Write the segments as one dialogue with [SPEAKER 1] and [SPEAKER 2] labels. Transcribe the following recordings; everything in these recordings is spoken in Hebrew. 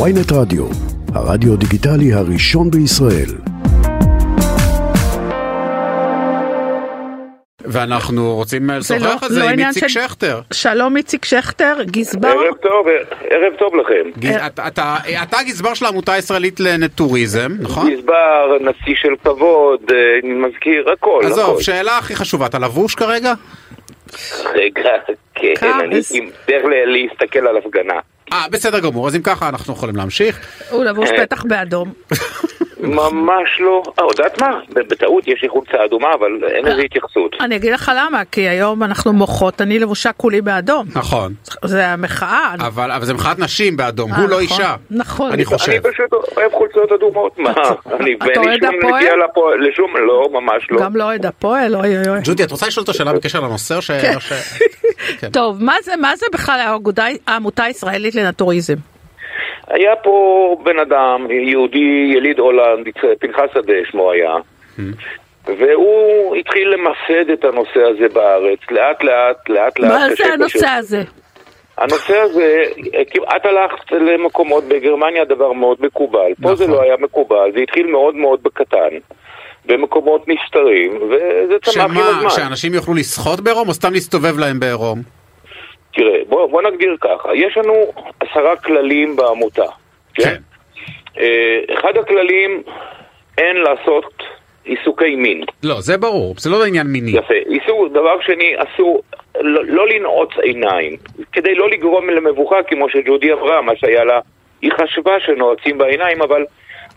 [SPEAKER 1] ויינט רדיו, הרדיו דיגיטלי הראשון בישראל.
[SPEAKER 2] ואנחנו רוצים אה, לשוחח
[SPEAKER 3] לא-
[SPEAKER 2] על זה
[SPEAKER 3] לא
[SPEAKER 2] עם
[SPEAKER 3] עניין
[SPEAKER 2] איציק
[SPEAKER 3] של-
[SPEAKER 2] שכטר.
[SPEAKER 3] שלום איציק שכטר, גזבר.
[SPEAKER 4] ערב טוב, ערב טוב לכם.
[SPEAKER 2] גיז-
[SPEAKER 3] אה.
[SPEAKER 2] אתה- אתה אתה הגזבר של העמותה הישראלית לנטוריזם, נכון?
[SPEAKER 4] גזבר, נשיא של כבוד, אה, מזכיר, הכל,
[SPEAKER 2] עזוב,
[SPEAKER 4] הכל.
[SPEAKER 2] שאלה הכי חשובה, אתה לבוש כרגע?
[SPEAKER 4] רגע, כן,
[SPEAKER 3] כעס.
[SPEAKER 4] אני עם- צריך ל- להסתכל על הפגנה.
[SPEAKER 2] אה, בסדר גמור, אז אם ככה אנחנו יכולים להמשיך.
[SPEAKER 3] הוא לבוש
[SPEAKER 4] אה.
[SPEAKER 3] בטח באדום.
[SPEAKER 4] ממש לא. אה, יודעת מה? ב- בטעות יש לי חולצה אדומה, אבל אין לזה התייחסות.
[SPEAKER 3] אני אגיד לך למה, כי היום אנחנו מוחות, אני לבושה כולי באדום.
[SPEAKER 2] נכון.
[SPEAKER 3] זה המחאה. אני-
[SPEAKER 2] אבל אבל זה מחאת נשים באדום,
[SPEAKER 3] אה,
[SPEAKER 2] הוא לא
[SPEAKER 3] נכון.
[SPEAKER 2] אישה.
[SPEAKER 3] נכון.
[SPEAKER 2] אני
[SPEAKER 3] אני
[SPEAKER 2] חושב.
[SPEAKER 4] אני פשוט אוהב חולצות אדומות, מה? אני
[SPEAKER 3] אתה
[SPEAKER 4] ואין לי
[SPEAKER 3] אוהד
[SPEAKER 4] שום
[SPEAKER 3] הפועל?
[SPEAKER 4] נגיעה לפועל, לשום, לא, ממש לא.
[SPEAKER 3] גם לא אוהד הפועל, אוי אוי אוי.
[SPEAKER 2] ג'ודי, את רוצה לשאול אותו שאלה בקשר לנושא או ש... או ש- כן.
[SPEAKER 3] טוב, מה זה, מה זה בכלל האגודה- העמותה הישראלית לנטוריזם?
[SPEAKER 4] היה פה בן אדם, יהודי, יליד הולנד, פנחס שדה שמו היה, והוא התחיל למסד את הנושא הזה בארץ, לאט לאט, לאט לאט.
[SPEAKER 3] מה זה
[SPEAKER 4] קשה, קשה.
[SPEAKER 3] הנושא הזה?
[SPEAKER 4] הנושא הזה, אה, כמעט הלכת למקומות, בגרמניה הדבר מאוד מקובל, פה זה
[SPEAKER 2] נכון.
[SPEAKER 4] לא היה מקובל, זה התחיל מאוד מאוד בקטן, במקומות נסתרים, וזה צמח עם
[SPEAKER 2] שמה,
[SPEAKER 4] הזמן.
[SPEAKER 2] שאנשים יוכלו לסחוט בעירום או סתם להסתובב להם בעירום?
[SPEAKER 4] כן. תראה, בוא, בוא נגדיר ככה, יש לנו עשרה כללים בעמותה, כן?
[SPEAKER 2] כן.
[SPEAKER 4] אה, אחד הכללים, אין לעשות עיסוקי מין.
[SPEAKER 2] לא, זה ברור, זה לא עניין מיני.
[SPEAKER 4] יפה. עיסוק, דבר שני, אסור לא, לא לנעוץ עיניים, כדי לא לגרום למבוכה, כמו שג'ודי אמרה, מה שהיה לה, היא חשבה שנועצים בעיניים, אבל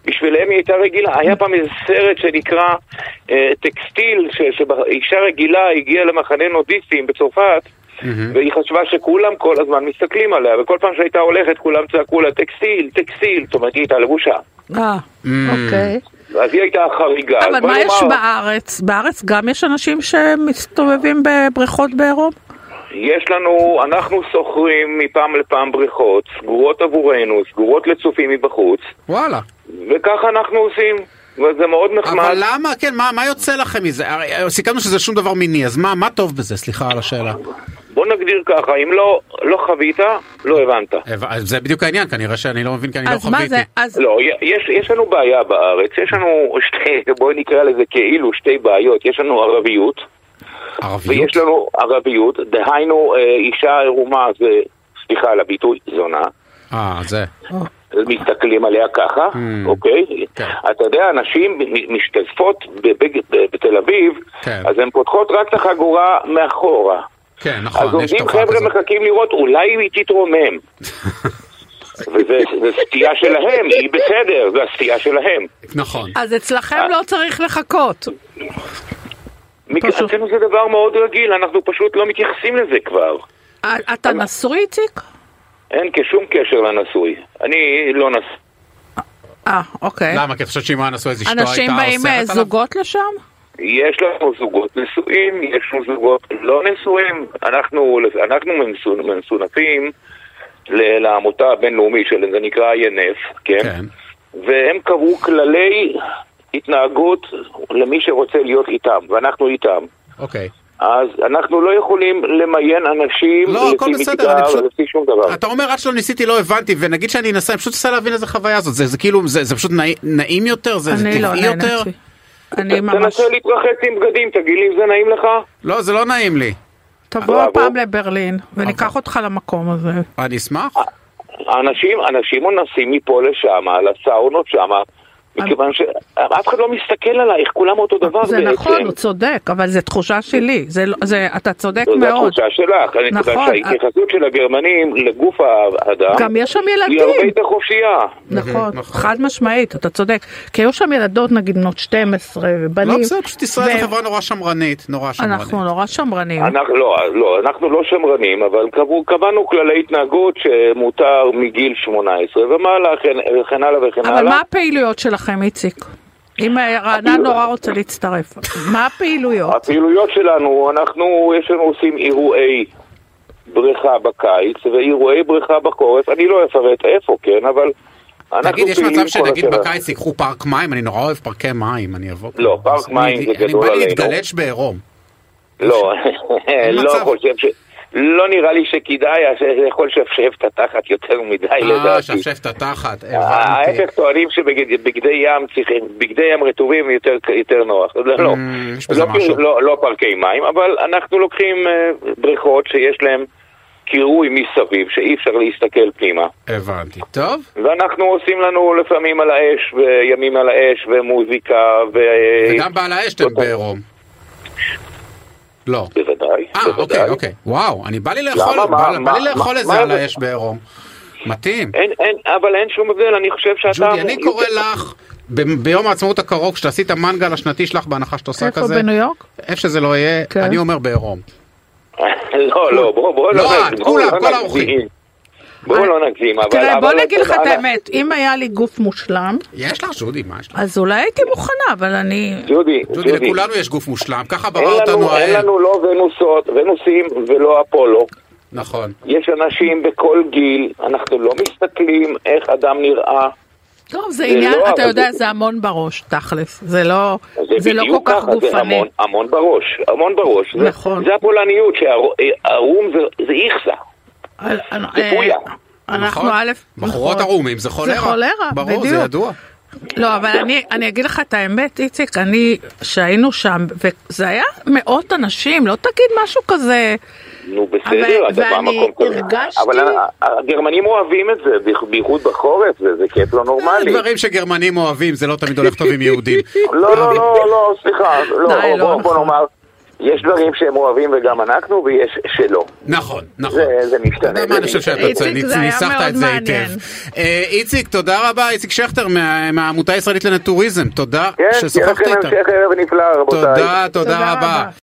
[SPEAKER 4] בשבילם היא הייתה רגילה. היה פעם איזה סרט שנקרא אה, טקסטיל, ש- שאישה רגילה הגיעה למחנה נודיסטים בצרפת, והיא חשבה שכולם כל הזמן מסתכלים עליה, וכל פעם שהייתה הולכת כולם צעקו לה טקסטיל, טקסטיל, זאת אומרת היא הייתה לבושה.
[SPEAKER 3] אה,
[SPEAKER 2] Mm.
[SPEAKER 3] אוקיי.
[SPEAKER 4] אז היא הייתה החריגה. אז
[SPEAKER 3] אבל
[SPEAKER 4] בוא
[SPEAKER 3] מה יש
[SPEAKER 4] נאמר,
[SPEAKER 3] בארץ? בארץ גם יש אנשים שמסתובבים בבריכות בעירום?
[SPEAKER 4] יש לנו, אנחנו שוכרים מפעם לפעם בריכות, סגורות עבורנו, סגורות לצופים מבחוץ,
[SPEAKER 2] וואלה.
[SPEAKER 4] וככה אנחנו עושים, וזה מאוד נחמד.
[SPEAKER 2] אבל למה, כן, מה, מה יוצא לכם מזה? הרי אה, סיכמנו שזה שום דבר מיני, אז מה, מה טוב בזה? סליחה על השאלה.
[SPEAKER 4] בוא נגדיר ככה, אם לא, לא חווית, לא הבנת.
[SPEAKER 2] אה, אז זה בדיוק העניין, כנראה שאני לא מבין כי אני לא
[SPEAKER 3] אז מה
[SPEAKER 2] חוויתי.
[SPEAKER 3] זה, אז
[SPEAKER 4] לא, י- יש, יש לנו בעיה בארץ, יש לנו שתי, בואי נקרא לזה כאילו שתי בעיות, יש לנו ערביות,
[SPEAKER 2] ערביות?
[SPEAKER 4] ויש לנו ערביות, דהיינו אה, אישה עירומה זה, סליחה על הביטוי, זונה.
[SPEAKER 2] אה, זה.
[SPEAKER 4] מסתכלים עליה ככה, אוקיי?
[SPEAKER 2] Mm. כן.
[SPEAKER 4] אתה יודע, נשים מ- משתזפות בבג- ב- בתל אביב,
[SPEAKER 2] כן.
[SPEAKER 4] אז הן פותחות רק את החגורה מאחורה.
[SPEAKER 2] כן,
[SPEAKER 4] אז
[SPEAKER 2] נכון, יש
[SPEAKER 4] עומדים
[SPEAKER 2] תופעה
[SPEAKER 4] חבר'ה
[SPEAKER 2] כזאת.
[SPEAKER 4] מחכים לראות, אולי היא תתרומם. וזה זה סטייה שלהם, היא בסדר, זה הסטייה שלהם.
[SPEAKER 2] נכון.
[SPEAKER 3] אז
[SPEAKER 4] אה.
[SPEAKER 3] אצלכם לא צריך לחכות.
[SPEAKER 4] מכ-
[SPEAKER 3] פשוט.
[SPEAKER 4] אצלנו זה דבר מאוד רגיל, אנחנו פשוט לא מתייחסים לזה כבר.
[SPEAKER 3] אה, אתה נשוי איציק?
[SPEAKER 4] אין כשום קשר לנשוי. אני לא נשוי.
[SPEAKER 3] אה, אוקיי.
[SPEAKER 2] למה? כי את חושבת שאם הוא היה נשוי אז אשתו הייתה
[SPEAKER 3] אנשים באים אה,
[SPEAKER 2] אוסרת עליו?
[SPEAKER 3] זוגות לשם?
[SPEAKER 4] יש לנו זוגות נשואים, יש לנו זוגות לא נשואים. אנחנו, אנחנו ממסו- ממסונפים ל- לעמותה הבינלאומית שלהם, זה נקרא INF, כן?
[SPEAKER 2] כן.
[SPEAKER 4] והם קבעו כללי התנהגות למי שרוצה להיות איתם, ואנחנו איתם.
[SPEAKER 2] אוקיי.
[SPEAKER 4] אז אנחנו לא יכולים למיין אנשים
[SPEAKER 2] לא, הכל
[SPEAKER 4] לפי
[SPEAKER 2] בסדר, אני
[SPEAKER 4] מגדר,
[SPEAKER 2] פשוט-
[SPEAKER 4] לפי שום דבר.
[SPEAKER 2] אתה אומר עד שלא ניסיתי לא הבנתי ונגיד שאני אנסה אני פשוט אנסה להבין איזה חוויה זאת זה זה כאילו זה זה פשוט נעי- נעים יותר זה זה
[SPEAKER 3] אני לא
[SPEAKER 2] טבעי יותר
[SPEAKER 3] נהניתי. אני ממש...
[SPEAKER 4] תנסה להתרחץ עם בגדים, תגיד לי אם זה נעים לך?
[SPEAKER 2] לא זה לא נעים לי
[SPEAKER 3] תבוא
[SPEAKER 4] בראבו.
[SPEAKER 3] הפעם לברלין,
[SPEAKER 4] אוקיי.
[SPEAKER 3] וניקח אותך למקום הזה.
[SPEAKER 2] אני אשמח
[SPEAKER 4] אנשים, אנשים אונסים מפה לשם, לסאונות שם, מכיוון שאף אחד לא מסתכל עלייך, כולם אותו דבר כן.
[SPEAKER 3] זה נכון, הוא צודק, אבל זו תחושה שלי. זה לא- זה- אתה צודק
[SPEAKER 4] זו
[SPEAKER 3] מאוד.
[SPEAKER 4] התחושה שלך, אני
[SPEAKER 3] נכון,
[SPEAKER 4] כיוון שההתייחסות של הגרמנים לגוף האדם
[SPEAKER 3] גם יש שם
[SPEAKER 4] היא הרבה
[SPEAKER 3] ילדים.
[SPEAKER 4] יותר חופשייה.
[SPEAKER 3] נכון,
[SPEAKER 2] נכון.
[SPEAKER 3] חד משמעית, אתה צודק. כי היו שם ילדות, נגיד בנות 12,
[SPEAKER 2] לא
[SPEAKER 3] ובנים.
[SPEAKER 2] בסדר פשוט ישראל
[SPEAKER 3] ו- נכון.
[SPEAKER 2] זו חברה נורא שמרנית נורא שמרנית
[SPEAKER 3] אנחנו נורא שמרנים.
[SPEAKER 4] אנחנו לא, לא, אנחנו לא שמרנים, אבל קבעו- קבענו כללי התנהגות שמותר מגיל 18 ומעלה, וכן- וכן הלאה וכן
[SPEAKER 3] אבל
[SPEAKER 4] הלאה.
[SPEAKER 3] מה הפעילויות שלכם, איציק? אם אה, רענן נורא רוצה להצטרף, מה הפעילויות?
[SPEAKER 4] הפעילויות שלנו, אנחנו, יש לנו עושים אירועי בריכה בקיץ ואירועי בריכה בחורף, אני לא אפרט איפה, כן, אבל אנחנו
[SPEAKER 2] תגיד, יש
[SPEAKER 4] פעילים
[SPEAKER 2] מצב
[SPEAKER 4] כל
[SPEAKER 2] שנגיד
[SPEAKER 4] השנה.
[SPEAKER 2] בקיץ ייקחו פארק מים? אני נורא אוהב פארקי מים, אני אבוא.
[SPEAKER 4] לא,
[SPEAKER 2] פה.
[SPEAKER 4] פארק
[SPEAKER 2] אז
[SPEAKER 4] מים
[SPEAKER 2] אני-
[SPEAKER 4] זה גדול
[SPEAKER 2] אני בא לי
[SPEAKER 4] עלינו.
[SPEAKER 2] להתגלש בעירום.
[SPEAKER 4] לא,
[SPEAKER 2] אין
[SPEAKER 4] לא
[SPEAKER 2] מצב.
[SPEAKER 4] חושב ש... לא נראה לי שכדאי, אז זה יכול לשפשף את התחת יותר מדי
[SPEAKER 2] אה,
[SPEAKER 4] לדעתי. אה,
[SPEAKER 2] שפשף את התחת, הבנתי.
[SPEAKER 4] ההפך טוענים שבגדי ים צריכים, בגדי ים רטובים יותר, יותר נוח. לא, לא,
[SPEAKER 2] Mm, יש בזה
[SPEAKER 4] לא,
[SPEAKER 2] משהו.
[SPEAKER 4] לא, לא פארקי מים, אבל אנחנו לוקחים אה, בריכות שיש להן קירוי מסביב, שאי אפשר להסתכל פנימה.
[SPEAKER 2] הבנתי. טוב,
[SPEAKER 4] ואנחנו עושים לנו לפעמים על האש, וימים על האש, ומוזיקה, ו... אה,
[SPEAKER 2] וגם בעל האש אתם בעירום. לא.
[SPEAKER 4] בוודאי.
[SPEAKER 2] אה,
[SPEAKER 4] בוודאי.
[SPEAKER 2] אוקיי, אוקיי. וואו, אני בא לי לאכול,
[SPEAKER 4] למה? מה-
[SPEAKER 2] בא- בא לי
[SPEAKER 4] מה-
[SPEAKER 2] לאכול
[SPEAKER 4] מה-
[SPEAKER 2] איזה
[SPEAKER 4] מה
[SPEAKER 2] על
[SPEAKER 4] זה? אה,
[SPEAKER 2] האש בעירום. מתאים.
[SPEAKER 4] אין, אין, אבל אין שום הבדל, אני חושב שאתה...
[SPEAKER 2] ג'ודי, אני קורא לך ב- ביום העצמאות הקרוב, כשתעשי את המנגל השנתי שלך, בהנחה שאת עושה
[SPEAKER 3] איפה
[SPEAKER 2] כזה,
[SPEAKER 3] בניו יורק?
[SPEAKER 2] איפה שזה לא יהיה,
[SPEAKER 3] כן.
[SPEAKER 2] אני אומר בעירום.
[SPEAKER 4] לא, לא, בוא, בוא,
[SPEAKER 2] לא,
[SPEAKER 4] לא,
[SPEAKER 2] את,
[SPEAKER 4] בוא,
[SPEAKER 2] כולם,
[SPEAKER 4] לא
[SPEAKER 2] כל
[SPEAKER 4] נגזים.
[SPEAKER 2] האורחים.
[SPEAKER 4] בואו לא נגזים, אבל...
[SPEAKER 3] תראה, בוא
[SPEAKER 4] אבל-
[SPEAKER 3] נגיד לך את
[SPEAKER 4] אבל-
[SPEAKER 3] האמת, אם היה לי גוף מושלם,
[SPEAKER 2] יש לך, ג'ודי, מה יש לך?
[SPEAKER 3] אז אולי הייתי מוכנה, אבל אני...
[SPEAKER 4] ג'ודי,
[SPEAKER 2] ג'ודי,
[SPEAKER 4] ג'ודי,
[SPEAKER 2] לכולנו יש גוף מושלם, ככה
[SPEAKER 4] אין
[SPEAKER 2] ברא אותנו
[SPEAKER 4] לנו- אין
[SPEAKER 2] האל.
[SPEAKER 4] לנו לא ונוסות, ונוסים ולא אפולו.
[SPEAKER 2] נכון.
[SPEAKER 4] יש אנשים בכל גיל, אנחנו לא מסתכלים איך אדם נראה.
[SPEAKER 3] טוב, זה עניין,
[SPEAKER 4] לא,
[SPEAKER 3] אתה
[SPEAKER 4] אבל
[SPEAKER 3] יודע,
[SPEAKER 4] זה-
[SPEAKER 3] זה המון בראש, תכלס. זה לא זה לא כל
[SPEAKER 4] בדיוק
[SPEAKER 3] כך
[SPEAKER 4] ככה, זה
[SPEAKER 3] גופני.
[SPEAKER 4] המון, המון בראש, המון בראש. זה-
[SPEAKER 3] נכון.
[SPEAKER 4] זה הפולניות, שהערום זה- זה איכסה.
[SPEAKER 3] אל- אל-
[SPEAKER 4] זה
[SPEAKER 3] אה,
[SPEAKER 4] פויה.
[SPEAKER 3] אנחנו
[SPEAKER 2] נכון?
[SPEAKER 3] א',
[SPEAKER 2] בחורות
[SPEAKER 3] נכון.
[SPEAKER 2] ערומים, זה חולרה.
[SPEAKER 3] חולרה,
[SPEAKER 2] ברור, זה
[SPEAKER 3] בדיוק.
[SPEAKER 2] ידוע.
[SPEAKER 3] לא, אבל אני, אני אגיד לך את האמת, איציק, אני, שהיינו שם, וזה היה מאות אנשים, לא תגיד משהו כזה.
[SPEAKER 4] נו בסדר,
[SPEAKER 3] אבל-
[SPEAKER 4] אתה בא
[SPEAKER 3] ואני
[SPEAKER 4] במקום כזה.
[SPEAKER 3] הרגשתי-
[SPEAKER 4] אבל ה- ה- הגרמנים אוהבים את זה, בייח- בייחוד בחורף, זה זה כיף לא נורמלי.
[SPEAKER 2] אה, דברים שגרמנים אוהבים, זה לא תמיד הולך טוב עם יהודים.
[SPEAKER 4] לא, לא, לא, לא, סליחה, לא,
[SPEAKER 3] די,
[SPEAKER 4] בוא-
[SPEAKER 3] לא
[SPEAKER 4] בוא- בוא
[SPEAKER 3] נכון.
[SPEAKER 4] נאמר, יש דברים שהם אוהבים וגם אנחנו, ויש שלא.
[SPEAKER 2] נכון, נכון.
[SPEAKER 4] זה- זה משתנה,
[SPEAKER 2] אתה יודע מה,
[SPEAKER 4] זה
[SPEAKER 2] אני חושב
[SPEAKER 4] משתנה.
[SPEAKER 2] שאתה צודק,
[SPEAKER 3] איציק, זה היה
[SPEAKER 2] ניסחת
[SPEAKER 3] מאוד
[SPEAKER 2] את זה
[SPEAKER 3] מעניין.
[SPEAKER 2] היטב. אה, איציק, תודה רבה, איציק שכטר מה- מהעמותה הישראלית לנטוריזם, תודה
[SPEAKER 4] כן, שיהיה
[SPEAKER 2] ששוחחת
[SPEAKER 4] לכם
[SPEAKER 2] איתנו.
[SPEAKER 4] המשך ערב נפלא, רבותיי.
[SPEAKER 2] תודה, תודה
[SPEAKER 3] תודה
[SPEAKER 2] רבה.
[SPEAKER 3] רבה.